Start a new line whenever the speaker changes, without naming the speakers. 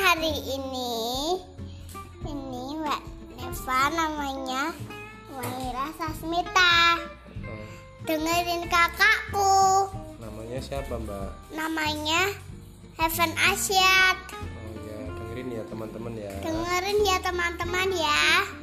hari ini ini Mbak Neva namanya Wahira Sasmita.
Oh,
Dengerin kakakku.
namanya siapa mbak?
Namanya Heaven Asyad.
Oh ya dengerin ya teman-teman ya.
Dengerin ya teman-teman ya.
Iya.